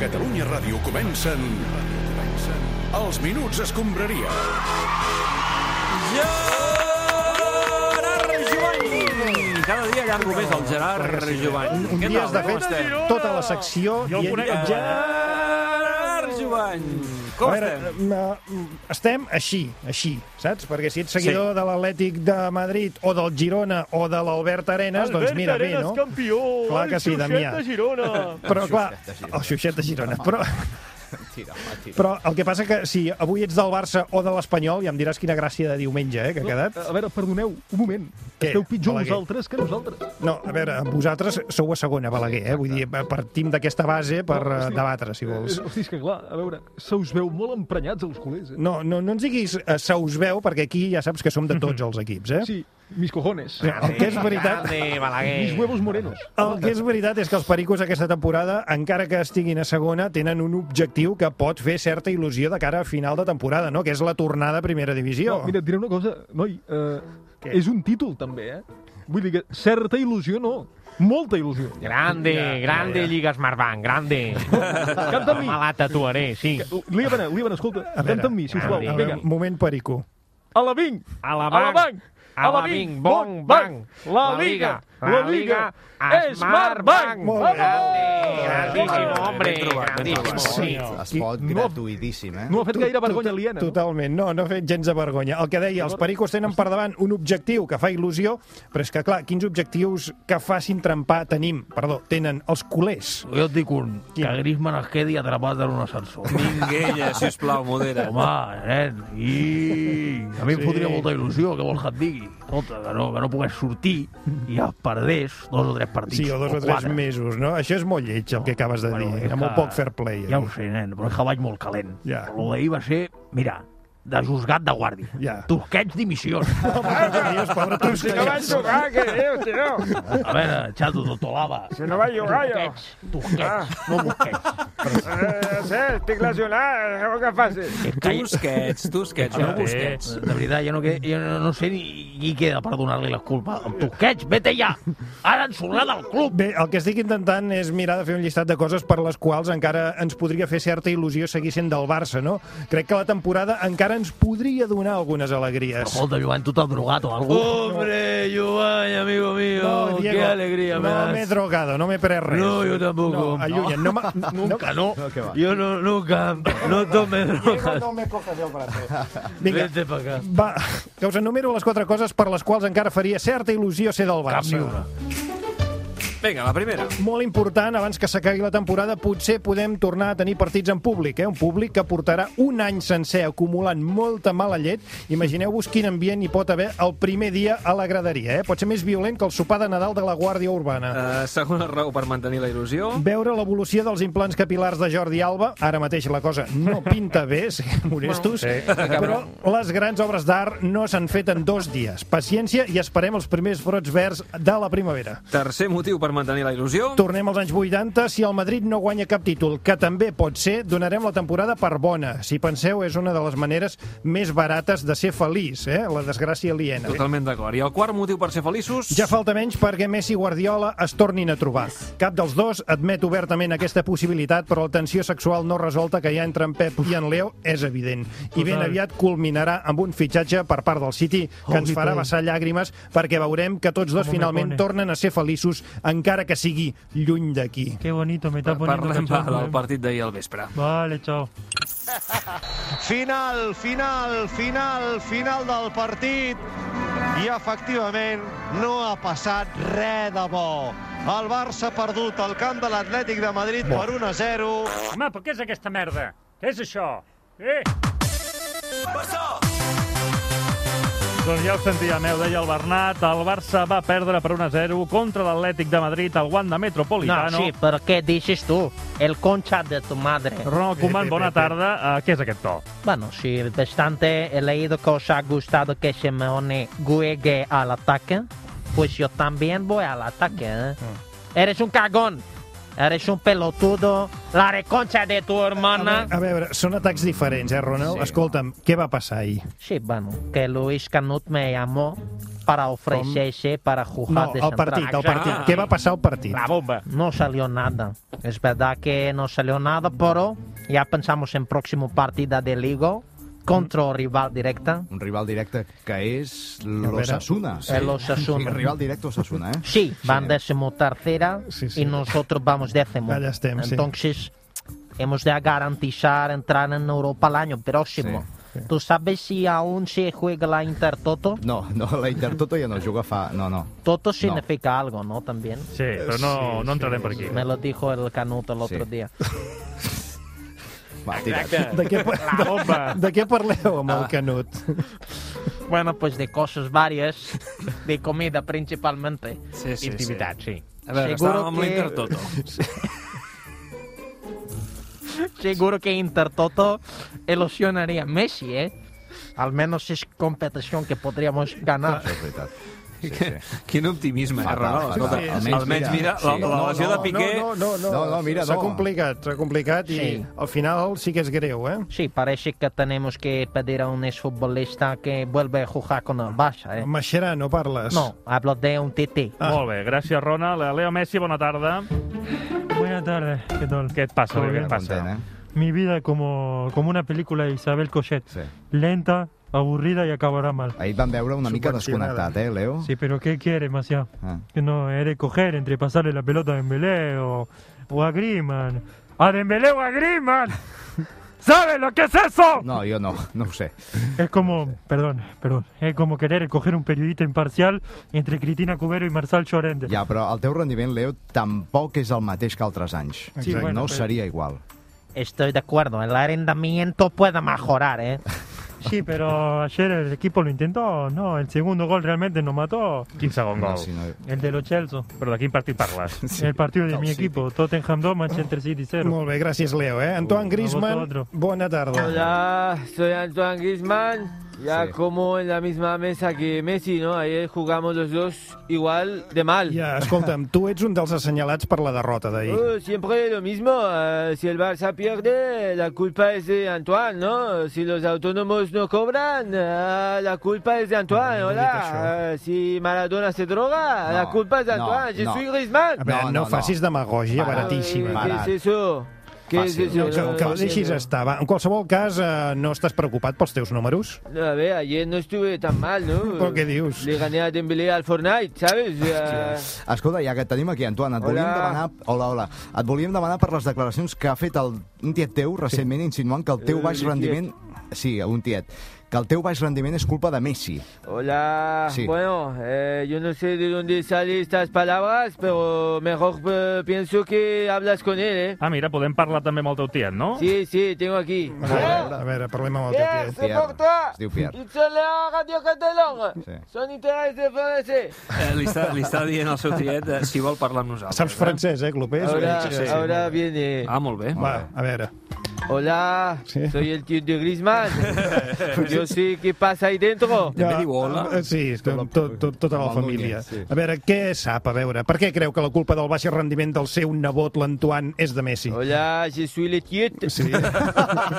Catalunya Ràdio comencen... comencen Els Minuts Escombraria. Gerard Jovany! Cada dia allargo més el Gerard Jovany. Un dia has de fer tota la secció Jo el dient, conec. ja... Gerard Jovany! A Com veure, estem? eh, estem així, així, saps? Perquè si ets seguidor de l'Atlètic de Madrid o del Girona o de l'Albert Arenas, doncs mira bé, Arenas, no? campió! Clar que el sí, xuxet Damià. de Girona! Però clar, el xuxet de Girona. Però, però el que passa que si avui ets del Barça o de l'Espanyol, ja em diràs quina gràcia de diumenge eh, que ha quedat. A veure, perdoneu, un moment. Què, Esteu pitjor Balaguer? vosaltres que nosaltres. No, a veure, vosaltres sou a segona, Balaguer, eh? Vull dir, partim d'aquesta base per eh, Hosti, debatre, si vols. eh, Hosti, és que clar, a veure, se us veu molt emprenyats els culers, eh? No, no, no ens diguis eh, se us veu, perquè aquí ja saps que som de tots els equips, eh? Sí, mis cojones. El que és veritat... Mis huevos morenos. El que és veritat és que els pericos aquesta temporada, encara que estiguin a segona, tenen un objectiu que pot fer certa il·lusió de cara a final de temporada, no? que és la tornada a primera divisió. No, mira, et diré una cosa, noi, eh, és un títol també, eh? Vull dir que certa il·lusió no, molta il·lusió. Grande, grande Lliga Smartbank, grande. Canta Uh, amb mi. Me la tatuaré, sí. Líban, Líban, escolta, canta amb mi, sisplau. a veure, Vinga, moment perico. a la vinc! A A la la banc, banc! a la vinc, bon banc. La Liga, la Liga, Smartbank. Smartbank. Molt bé. Ah, Grande, grandísimo, hombre, Ben trobat, ben grandísimo. trobat. Sí. Espot Oh. No. gratuïtíssim, eh? No ha fet Tu- gaire vergonya tu- aliena, no? Totalment, no, no ha fet gens de vergonya. El que deia, els pericos tenen per davant un objectiu que fa il·lusió, però és que, clar, quins objectius que facin trempar tenim, perdó, tenen els culers. Jo et dic un, que Quin? Griezmann es quedi atrapat en un ascensor. Minguella, sisplau, modera. Home, nen, i... A mi em fotria molta il·lusió, què vols que et digui? Escolta, que no, que no pogués sortir i es perdés dos o tres partits. Sí, o dos o tres quatre. mesos, no? Això és molt lleig, el que acabes de dir. és Era molt que- poc fair play. Ja eh? ho sé, nen, però és que vaig molt calent. Ja. Però Lo d'ahir va ser, mira, de juzgat de guàrdia. Ja. Tosquets dimissió. Dios, pobre Tosquets. A veure, xato, totolava. Si no va jugar, jo. Tosquets, tosquets, Ah. no busquets. Eh, Tusquets, tusquets, no busquets. De veritat, jo no, que, jo no, no sé ni qui queda per donar-li la culpa. El Tosquets, vete ja! Ara ens sorrà del club! Bé, el que estic intentant és mirar de fer un llistat de coses per les quals encara ens podria fer certa il·lusió seguir sent del Barça, no? Crec que la temporada encara ens podria donar algunes alegries. Escolta, Joan, tu t'has drogat o alguna Oh, cosa? Hombre, Joan, amigo mío, Oh, qué alegría me no das. m'he drogado, no m'he pres res. No, yo tampoco. No, allunya, no, m'ha- no, Nunca, no. Yo no, nunca, no tome drogas. me cojas el brazo. Vinga, Vete para acá. va, que us enumero les quatre coses per les quals encara faria certa il·lusió ser del Cap ni Barça. una. Vinga, la primera. Molt important, abans que s'acabi la temporada, potser podem tornar a tenir partits en públic, eh? un públic que portarà un any sencer acumulant molta mala llet. Imagineu-vos quin ambient hi pot haver el primer dia a la graderia. Eh? Pot ser més violent que el sopar de Nadal de la Guàrdia Urbana. Eh, segona raó per mantenir la il·lusió. Veure l'evolució dels implants capilars de Jordi Alba, ara mateix la cosa no pinta bé, siguem honestos, però les grans obres d'art no s'han fet en dos dies. Paciència i esperem els primers brots verds de la primavera. Tercer motiu per mantenir la il·lusió. Tornem als anys 80. Si el Madrid no guanya cap títol, que també pot ser, donarem la temporada per bona. Si penseu, és una de les maneres més barates de ser feliç, eh? la desgràcia aliena. Totalment d'acord. I el quart motiu per ser feliços... Ja falta menys perquè Messi i Guardiola es tornin a trobar. Cap dels dos admet obertament aquesta possibilitat, però la tensió sexual no resolta que hi ha entre en Pep i en Leo és evident. I ben aviat culminarà amb un fitxatge per part del City que ens farà vessar llàgrimes perquè veurem que tots dos finalment tornen a ser feliços encara que sigui lluny d'aquí. Qué bonito, me está poniendo Parlem va, cachondo, del eh. partit d'ahir al vespre. Vale, chao. Final, final, final, final del partit. I efectivament no ha passat res de bo. El Barça ha perdut el camp de l'Atlètic de Madrid per 1 a 0. Home, però què és aquesta merda? Què és això? Eh? Doncs ja ho sentia, meu, deia el Bernat. El Barça va perdre per 1-0 contra l'Atlètic de Madrid al Wanda Metropolitano. ¿pero qué dices tú? El concha de tu madre. Ronald Koeman, bona tarda. Uh, què és aquest to? Bueno, sí, bastante he leído que os ha gustado que Simeone juegue al ataque. Pues yo también voy al ataque. ¿eh? Mm. Eres un cagón. Eres un pelotudo. La reconcha de tu hermana. A veure, són atacs diferents, eh, Ronald? Sí. Escolta'm, què va passar ahir? Sí, bueno, que Luis Canut me llamó para ofrecerse para jugar No, de el central. partit, el partit. Ah. Què va passar al partit? La bomba. No salió nada. Es verdad que no salió nada, pero ya pensamos en próximo partida de Ligo contra o rival directa. Un rival directe que és veure. l'Osasuna. Eh, El Osasuna. Sí, rival directe Osasuna, eh? Sí, van decimotercera Sí, sí. y nosotros vamos décimo. Allá estemos, sí. Entonces, hemos de garantizar entrar en Europa el año próximo. ¿Tú sabes si aún se juega la Intertoto? No, no, la Intertoto ja no juga fa... No, no. Toto significa algo, ¿no? También. Sí, però no, no entrarem per aquí. Me lo dijo el Canuto el otro Sí. día. Va, tira. De què, pa- La bomba. de, de què Ah. parleu Ah. amb el Canut? Bueno, pues de cosas varias, de comida principalmente. Sí, sí, Intimitat, sí. sí. A veure, Seguro estàvem amb que- l'Intertoto. Seguro que Intertoto ilusionaría a Messi, ¿eh? Al menos es competición que podríamos ganar. Això és veritat. Sí, sí. Quin optimisme, Fatal, Carrerol. fatal. Escolta, Almenys almenys mira, mira, sí. la la No, lesió de Piqué... No, no, no, No, no, mira, S'ha no. complicat, s'ha complicat i Sí. al final sí que és greu, eh? Sí, parece que tenemos que pedir a un exfutbolista que vuelva a jugar con el Barça, ¿eh? Maixerà, no parles? Ah. No, hablo de un TT. Ah. Molt bé, gràcies, Ronald. Leo Messi, bona tarda. Buenas tardes, ¿qué tal? Què et passa? Leo? Què et passa? Content, eh? Mi vida como, como una película de Isabel Cochet. Sí. Lenta, aburrida y acabará mal. Ahir et van veure una mica Subvencionada. desconnectat, eh, Leo? Sí, pero ¿qué quiere, Maciá? Ah. Que no, he de coger entre pasarle la pelota a Dembélé o, o a Griezmann. ¡A Dembélé o a Griezmann! ¿Sabes lo que es eso? No, jo no, no ho sé. Es como, perdón, perdón, es como querer coger un periodista imparcial entre Cristina Cubero y Marçal Llorente. Ja, però el teu rendiment, Leo, tampoc és el mateix que altres anys. Sí, bueno, no però- seria igual. Estoy de acuerdo, el arrendamiento puede mejorar, ¿eh? Sí, pero ayer el equipo lo intentó, no, el segundo gol realmente nos mató. Quin segon No, gol? si no... El de los Chelsea. Però de quin partit parles? el partido de del mi City. equipo, Tottenham 2, Manchester City 0. Molt bé, gràcies, Leo, eh? Antoine Griezmann, vosaltres. bona tarda. Hola, soy Antoine Grisman. Ya Sí. como en la misma mesa que Messi, ¿no? Ayer jugamos los dos igual de mal. Ja, escolta'm, tu ets un dels assenyalats per la derrota d'ahir. Oh, siempre lo mismo. eh, si el Barça pierde, la culpa es de Antoine, ¿no? Si los autónomos no cobran, eh, la culpa es de Antoine. No, no dic això. Hola. Eh, si Maradona se droga, No, la culpa es de no, Antoine. Je no. suis Griezmann. Ah, A veure, No, no, no, no. facis demagogia Para. baratíssima. Para. ¿Qué barat. es eso? ¿Qué Fàcil. es No, eso? que, que ho No, deixis no. estar. Va. En qualsevol cas, eh, no estàs preocupat pels teus números? No, a ver, ayer no estuve tan mal, ¿no? ¿Por qué Dios? Le gané a Dembélé al Fortnite, ¿sabes? Ya- Escolta, ja que et tenim aquí, Antoine, et volíem Hola. demanar... Hola, hola. Et volíem demanar per les declaracions que ha fet el, un tiet teu recentment insinuant que el teu Eh, baix tiet. rendiment... Sí, un tiet. Que el teu baix rendiment és culpa de Messi. Hola. Sí. Bueno, eh, yo no sé de dónde salen estas palabras, pero mejor eh, pienso que hablas con él, ¿eh? Ah, mira, podem parlar també amb el teu tiet, no? Sí, sí, tengo aquí. A veure, a veure parlem amb el teu Pierre, tiet. c'est pour toi. Es diu Pierre. It's la radio catalane. Sí. Son interès de français. Eh, Li està, li està dient al seu tiet eh, si vol parlar amb nosaltres. Saps francès, eh, Clopés? Ahora, sí, sí. ahora viene. Eh? Ah, molt bé. Va, a veure. Hola, Sí. soy el tío de Griezmann. Yo sé qué pasa ahí dentro. També diu hola. eh, Sí, tot, tot, tot, tota la Amb el família. Núñez, sí. A veure, què sap? A veure, per què creu que la culpa del baix rendiment del seu nebot, l'Antoine, és de Messi? Hola, je suis le tiet. Sí.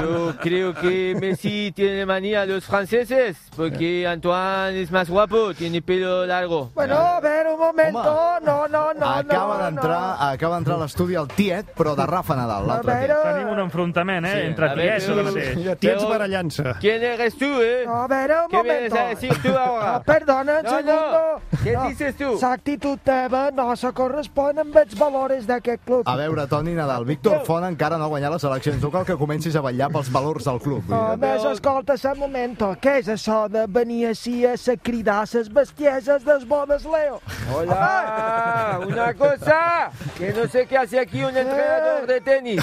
Yo creo que Messi tiene manía a los franceses, porque Antoine es más guapo, tiene pelo largo. Bueno, a ver, un momento. No, no, no, acaba d'entrar acaba d'entrar a l'estudi el tiet, però de Rafa Nadal, l'altre tiet. Tenim un enfrontament, eh? Sí. Entre A veure, tiets, ara mateix. Ja tiets Però- barallant-se. ¿Quién eres tú, eh? A ver, un Ah, ¿Qué vienes a decir tú ahora? Perdona, No, no. ¿Qué dices tú? actitud teva no se correspon amb els valores d'aquest club. A veure, Toni Nadal, Víctor Font encara no ha guanyat les eleccions. Tu cal que comencis a vetllar pels valors del club. Vull dir. més, escolta, sa momento, què és això de venir així a sa cridar ses bestieses dels bodes Leo? Hola, una cosa, que no sé qué hace aquí un entrenador de tenis.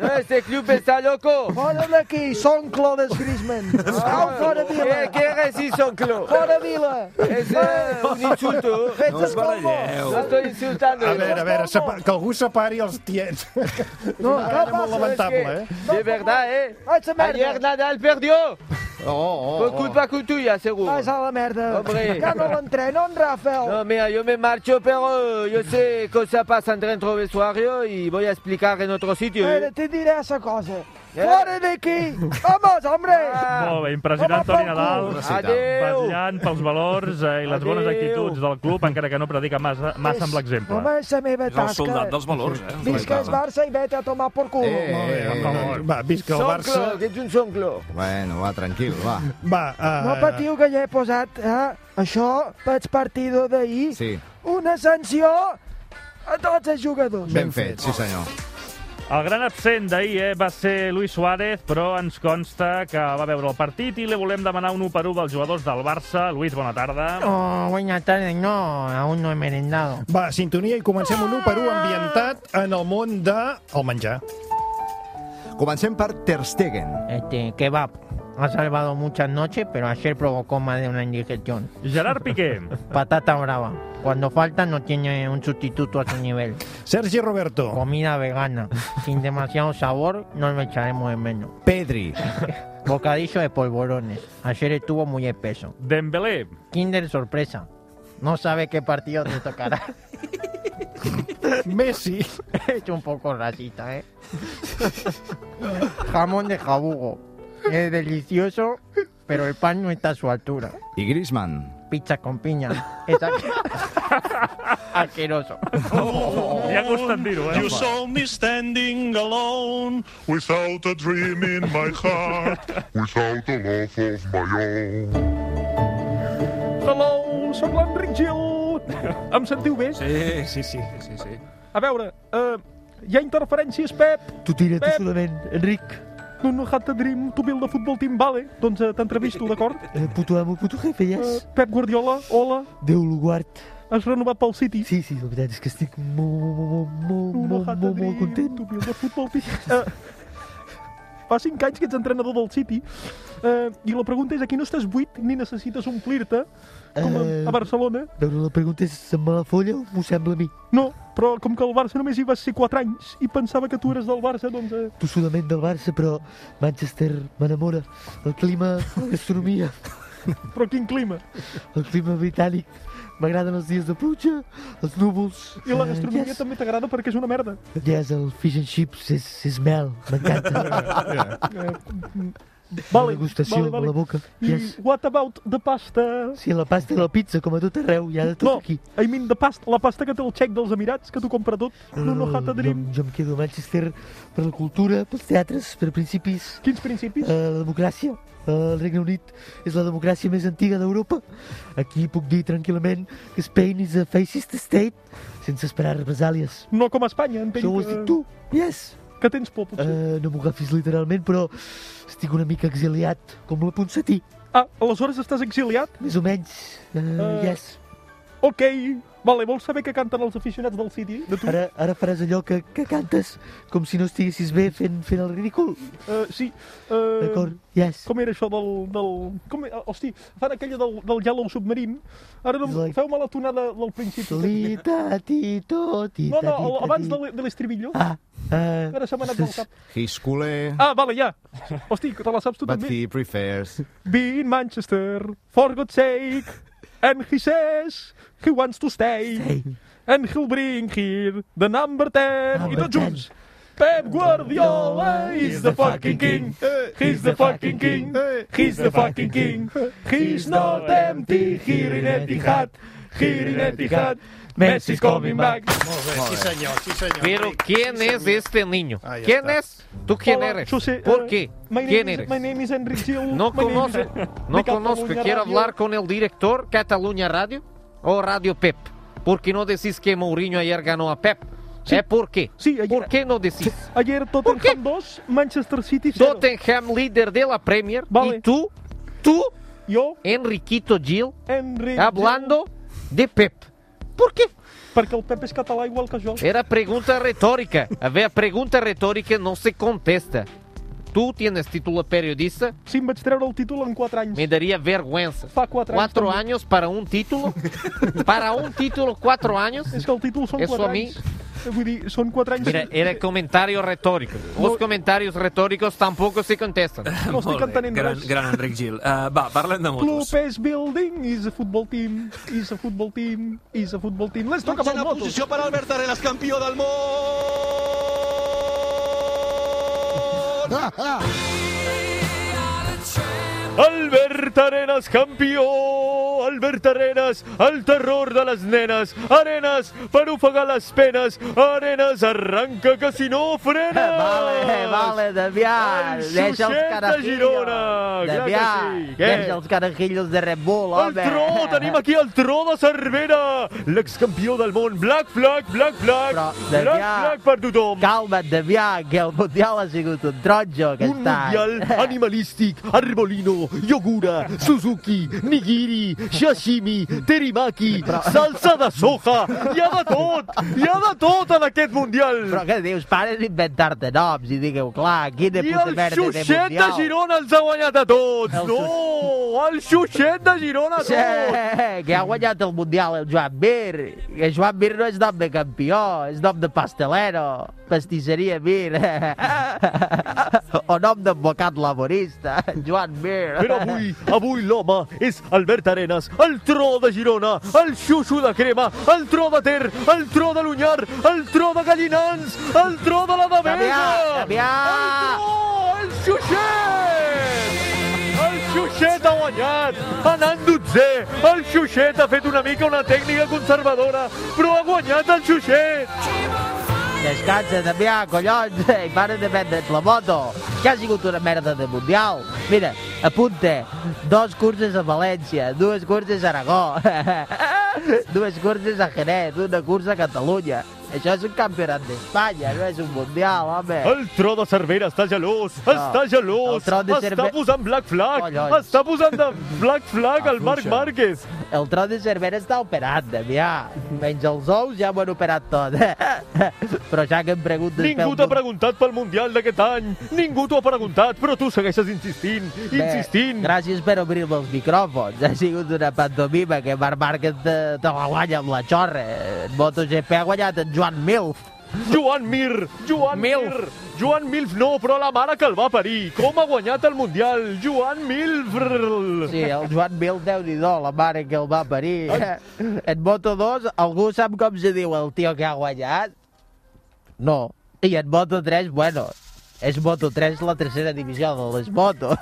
No, este club está loco. Fora d'aquí, són Clodes Griezmann. Au, fora ¿Qué, vila, qué eres, Isonclo? fora vila. Es eh, un insulto. Fets No us escolmo. baralleu. No estoy insultando. A veure, a veure, sepa- que algú separi els tiets. No, una baralla molt lamentable, eh? De verdad, ¿eh? Vaig a Ayer Ah, merda. Nadal perdió. Oh, oh, Por oh. culpa tuya, seguro. Vaig a la Ah, merda. Hombre. Que no l'entreno, en Rafael. No, mira, yo me marcho, pero yo sé cosa pasa dentro del vestuario y voy a explicar en otro sitio. Mira, ¿eh? te diré esa cosa. Fora d'aquí! Vamos, hombre! Molt bé, impressionant Toni Nadal. Adéu! Vetllant pels valors eh, i les bones actituds del club, encara que no predica massa, massa amb l'exemple. Home, és la meva És el tasca. soldat dels valors, eh? Visca el Barça i vete a tomar por Eh, culo. Va, visca el Sonclo, Barça. que ets un sonclo. Bueno, va, tranquil, va. Va, eh, No patiu que ja he posat, eh? Això, pels partido d'ahir, Sí. una sanció a tots els jugadors. Ben fet, sí senyor. El gran absent d'ahir eh, va ser Luis Suárez, però ens consta que va veure el partit i li volem demanar un 1 per 1 dels jugadors del Barça. Luis, bona tarda. Oh, buenas tardes, no, aún no he merendado. Va, sintonia i comencem un 1 per 1 ambientat en el món de el menjar. Comencem per Ter Stegen. Este, kebab. Ha salvado muchas noches, pero ayer provocó más de una indigestión. Gerard Piqué. Patata brava. Cuando falta no tiene un sustituto a su nivel. Sergi Roberto. Comida vegana. Sin demasiado sabor, no lo echaremos de menos. Pedri. Bocadillo de polvorones. Ayer estuvo muy espeso. Dembélé. Kinder sorpresa. No sabe qué partido te tocará. Messi. Es un poco racista, ¿eh? Jamón de jabugo. Es delicioso, pero el pan no está a su altura. I Griezmann. Pizza con piña. Es asque- asqueroso. Li ha gustat dir-ho, eh? You saw me standing alone without a dream in my heart, without a love of my own. Hello, sóc l'Enric Gil. Em sentiu bé? Sí, sí, sí. sí, sí. A veure, uh, hi ha interferències, Pep. Tu tira, tu Pep. solament, Enric. No, no, had the dream, tu build the football team, vale? Doncs uh, t'entrevisto, d'acord? Eh, puto amo, puto jefe, ja és. Eh, Pep Guardiola, hola. Déu lo guard. Has renovat pel City? Sí, sí, la veritat és que estic molt, molt, molt, molt, molt, molt, molt content. Tu build the football team. Eh, fa 5 anys que ets entrenador del City. Eh, I la pregunta és, aquí no estàs buit ni necessites omplir-te, com a, Eh, a Barcelona? A veure, la pregunta és, se'm va la folla o m'ho sembla a mi? No, però com que el Barça només hi vas ser 4 anys i pensava que tu eres del Barça, doncs... Eh, Tu solament del Barça, però Manchester m'enamora. El clima, la gastronomia, però quin clima? el clima britànic. M'agraden els dies de pluja, els núvols... I la eh, gastronomia yes. també t'agrada perquè és una merda. Yes, el fish and chips és, és mel, m'encanta. Eh, Vale, degustació vale, a vale. la boca, I yes. what about the pasta? Sí, la pasta i la pizza, com a tot arreu, hi ha de tot no, aquí. I mean the pasta, la pasta que té el xec dels Emirats, que t'ho compra tot. No, no, hat a Ah, jo, dream. jo em quedo a Manchester per la cultura, pels teatres, per principis. Quins principis? Eh, la democràcia. Eh, el Regne Unit és la democràcia més antiga d'Europa. Aquí puc dir tranquil·lament que Spain is a fascist state sense esperar represàlies. No com a Espanya, entenc Això ho has que- dit tu? Yes. Que tens por, potser? Eh, no m'ho agafis literalment, però estic una mica exiliat, com la Ponsatí. Ah, aleshores estàs exiliat? Més o menys, eh, Eh, yes. Ok, vale, vols saber què canten els aficionats del City? De tu? Ara, ara faràs allò que, que cantes, com si no estiguessis bé fent, fent el ridícul. Eh, sí. eh, D'acord, yes. Com era això del... del com, eh, hosti, fan aquella del, del Yellow Submarine. Ara no, like... feu-me la tonada del principi. Lita, tito, tita, No, no, el, tita, abans tita. de l'estribillo. Ah, eh, Ara se m'ha anat del cap. Hisculer. Ah, vale, ja. Hosti, te la saps tu But també. he prefers. Be in Manchester, for God's sake. And he says he wants to stay. And he'll bring here the number 10. I tots junts. Pep Guardiola is the fucking king. He's the fucking king. He's the fucking king. He's not empty here in Etihad. Here in Etihad. Messi's coming back. Sí senyor, sí senyor. Pero ¿quién es este niño? ¿Quién es? ¿Tú quién Hola, eres? yo sé, ¿Por eh, qué? My name ¿Quién is- eres? My name is Enric Gil. No My name conozco, is- no de conozco. Catalunya Quiero Radio. hablar con el director Cataluña Radio o Radio Pep. ¿Por qué no decís que Mourinho ayer ganó a Pep? ¿Eh? ¿Por qué? ¿Por qué no decís? Ayer Tottenham 2, Manchester City 0. Tottenham líder de la Premier Vale. y tú, tú, yo, Enriquito Gil, Enric hablando de Pep. ¿Por qué? Perquè el Pep és català igual que jo. Era pregunta retórica. A ver, pregunta retórica no se contesta. Tú tienes título de periodista, Si em vaig treure el títol en 4 anys. me daría vergüenza. Fa 4 anys. Cuatro també. años para un título. Para un título, cuatro años. És que el títol són Eso 4 a mí. anys. Eh, Vull dir, són 4 anys. Mira, era comentario retórico. Los comentarios retóricos tampoco se contestan. No estic entenent gran, res. gran Enric Gil. Uh, va, parlem de motos. Club is building, is a football team, is a football team, is a football team. Let's talk about motos. Posició per Albert Arenas, campió del món! Ah, Albert Arenas, campió! Albert Arenas, el terror de les nenes! Arenas, per ofegar les penes! Arenas, arranca, que si no frenes! Vale, Eh, vale, Damià, El deixa els Xuxet de carajillos. Girona! clar Damià, que sí. Què? deixa els carajillos de Red Bull, home. El tro, tenim aquí el tro de Cervera, l'excampió del món, Black Flag, Black Flag, Però, Black Flag per tothom. Calma't, Damià, que el Mundial ha sigut un tronjo aquest Un mundial animalístic, arbolino, yogura, suzuki, nigiri, sashimi, terimaki, salsa de soja, hi ha de tot, hi ha de tot en aquest mundial. Però què dius, pares d'inventar-te noms i digueu, clar, quina I puta el merda de Xuxet de Mundial. Girona ens ha guanyat a tots. El No, el Xuxet de Girona a Sí, tots. que ha guanyat el Mundial el Joan Mir. Que Joan Mir no és nom de campió, és nom de pastelero, pastisseria Mir. o nom d'advocat laborista, Joan Mir. Però avui, avui l'home és Albert Arenas, el tro de Girona, el xuxo de crema, el tro de Ter, el tro de l'Unyar, el tro de Gallinans, el tro de la Devesa! Damià, Damià! El tro, el xuxet! El xuxet ha guanyat, anant dotzè, el xuxet ha fet una mica una tècnica conservadora, però ha guanyat el xuxet! Descansa, Damià, collons, i para de vendre't la moto, que ha sigut una merda de mundial. Mira, apunta, dos curses a València, dues curses a Aragó, dues curses a Jerez, una cursa a Catalunya. Això és un campionat d'Espanya, no és un mundial, home. El tro de Cervera està gelós, està gelós, el tro de està Cerve- posant Black Flag, Collons. està posant de Black Flag al Marc Afluixa. Márquez. El tro de Cervera està operat, Damià. Menys els ous ja m'han operat tot. Però ja que em preguntes... Ningú t'ha preguntat pel Mundial d'aquest any, ningú t'ho ha preguntat, però tu segueixes insistint, insistint. gràcies per obrir-me els micròfons. Ha sigut una pantomima que Marc Márquez te, te la guanya amb la xorra. En MotoGP ha guanyat en Joan Milf. Joan Mir, Joan Milf. Joan Milf no, però la mare que el va parir. Com ha guanyat el Mundial, Joan Milf. Sí, el Joan Milf, déu nhi la mare que el va parir. En Moto2, algú sap com se diu el tio que ha guanyat? No. I en Moto3, bueno, és Moto3 la tercera divisió de les motos.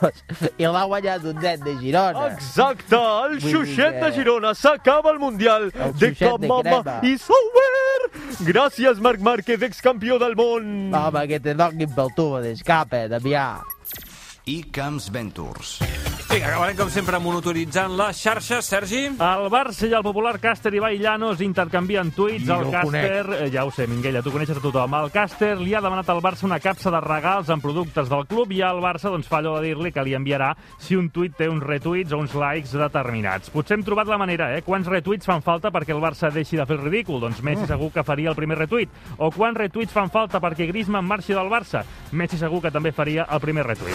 I l'ha guanyat un nen de Girona. Exacte, el Vull dir Xuxet que- de Girona s'acaba el Mundial. de Xuxet de mama crema. i Sauer. Gràcies, Marc Márquez, excampió del món. Home, que te donin pel tubo d'escape, Damià. I Camps Ventures. Vinga, acabarem com sempre monitoritzant les xarxes, Sergi. El Barça i el popular Càster i Llanos intercanvien tuits. I El no ho Càster, eh, ja ho sé, Minguella, tu coneixes a tothom. El Càster li ha demanat al Barça una capsa de regals amb productes del club i el Barça doncs, fa allò de dir-li que li enviarà si un tuit té uns retuits o uns likes determinats. Potser hem trobat la manera, eh? Quants retuits fan falta perquè el Barça deixi de fer el ridícul? Doncs Messi segur que faria el primer retuit. O quants retuits fan falta perquè Griezmann marxi del Barça? Messi segur que també faria el primer retuit.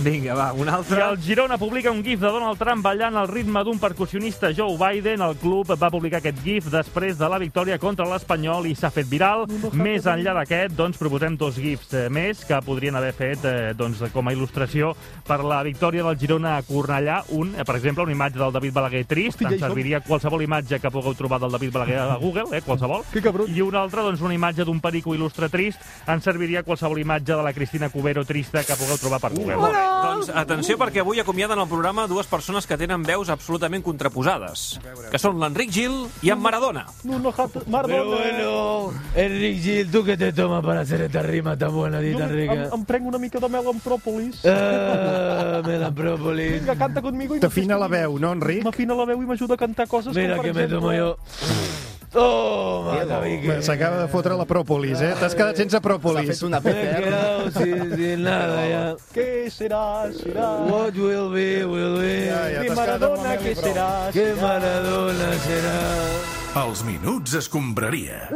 Vinga, va, un altre. I el Girona publica un gif de Donald Trump ballant al ritme d'un percussionista Joe Biden. El club va publicar aquest gif després de la victòria contra l'Espanyol i s'ha fet viral. Més enllà d'aquest, doncs, proposem dos gifs eh, més que podrien haver fet eh, doncs, com a il·lustració per la victòria del Girona a Cornellà. Un, eh, per exemple, una imatge del David Balaguer trist. Hosti, ja hi Ens som. serviria qualsevol imatge que pugueu trobar del David Balaguer a Google, eh, qualsevol. Que cabron. I una altra, doncs, una imatge d'un perico il·lustre trist. Ens serviria qualsevol imatge de la Cristina Cubero trista que pugueu trobar per Google. Molt bé, doncs atenció perquè avui acomiaden al programa dues persones que tenen veus absolutament contraposades, que són l'Enric Gil i en Maradona. No, no, Jato- Maradona. eh. Bueno, Enric Gil, ¿tú qué te tomas para hacer esta rima tan buena y tan Em, rica? em prenc una mica de mel amb pròpolis. Eh. Ah, me la própolis. Vinga, canta conmigo. i T'afina la veu, no, Enric? M'afina la veu i m'ajuda a cantar coses Mira com, per que me exemple, tomo yo. Oh, Toma, Home, cabique. S'acaba de fotre la pròpolis, eh? T'has quedat sense pròpolis. Me he quedado sin, sin nada ya. Què serà, serà? What will be, will be. De Maradona, què serà, ¿Qué Maradona será? Els minuts escombraria.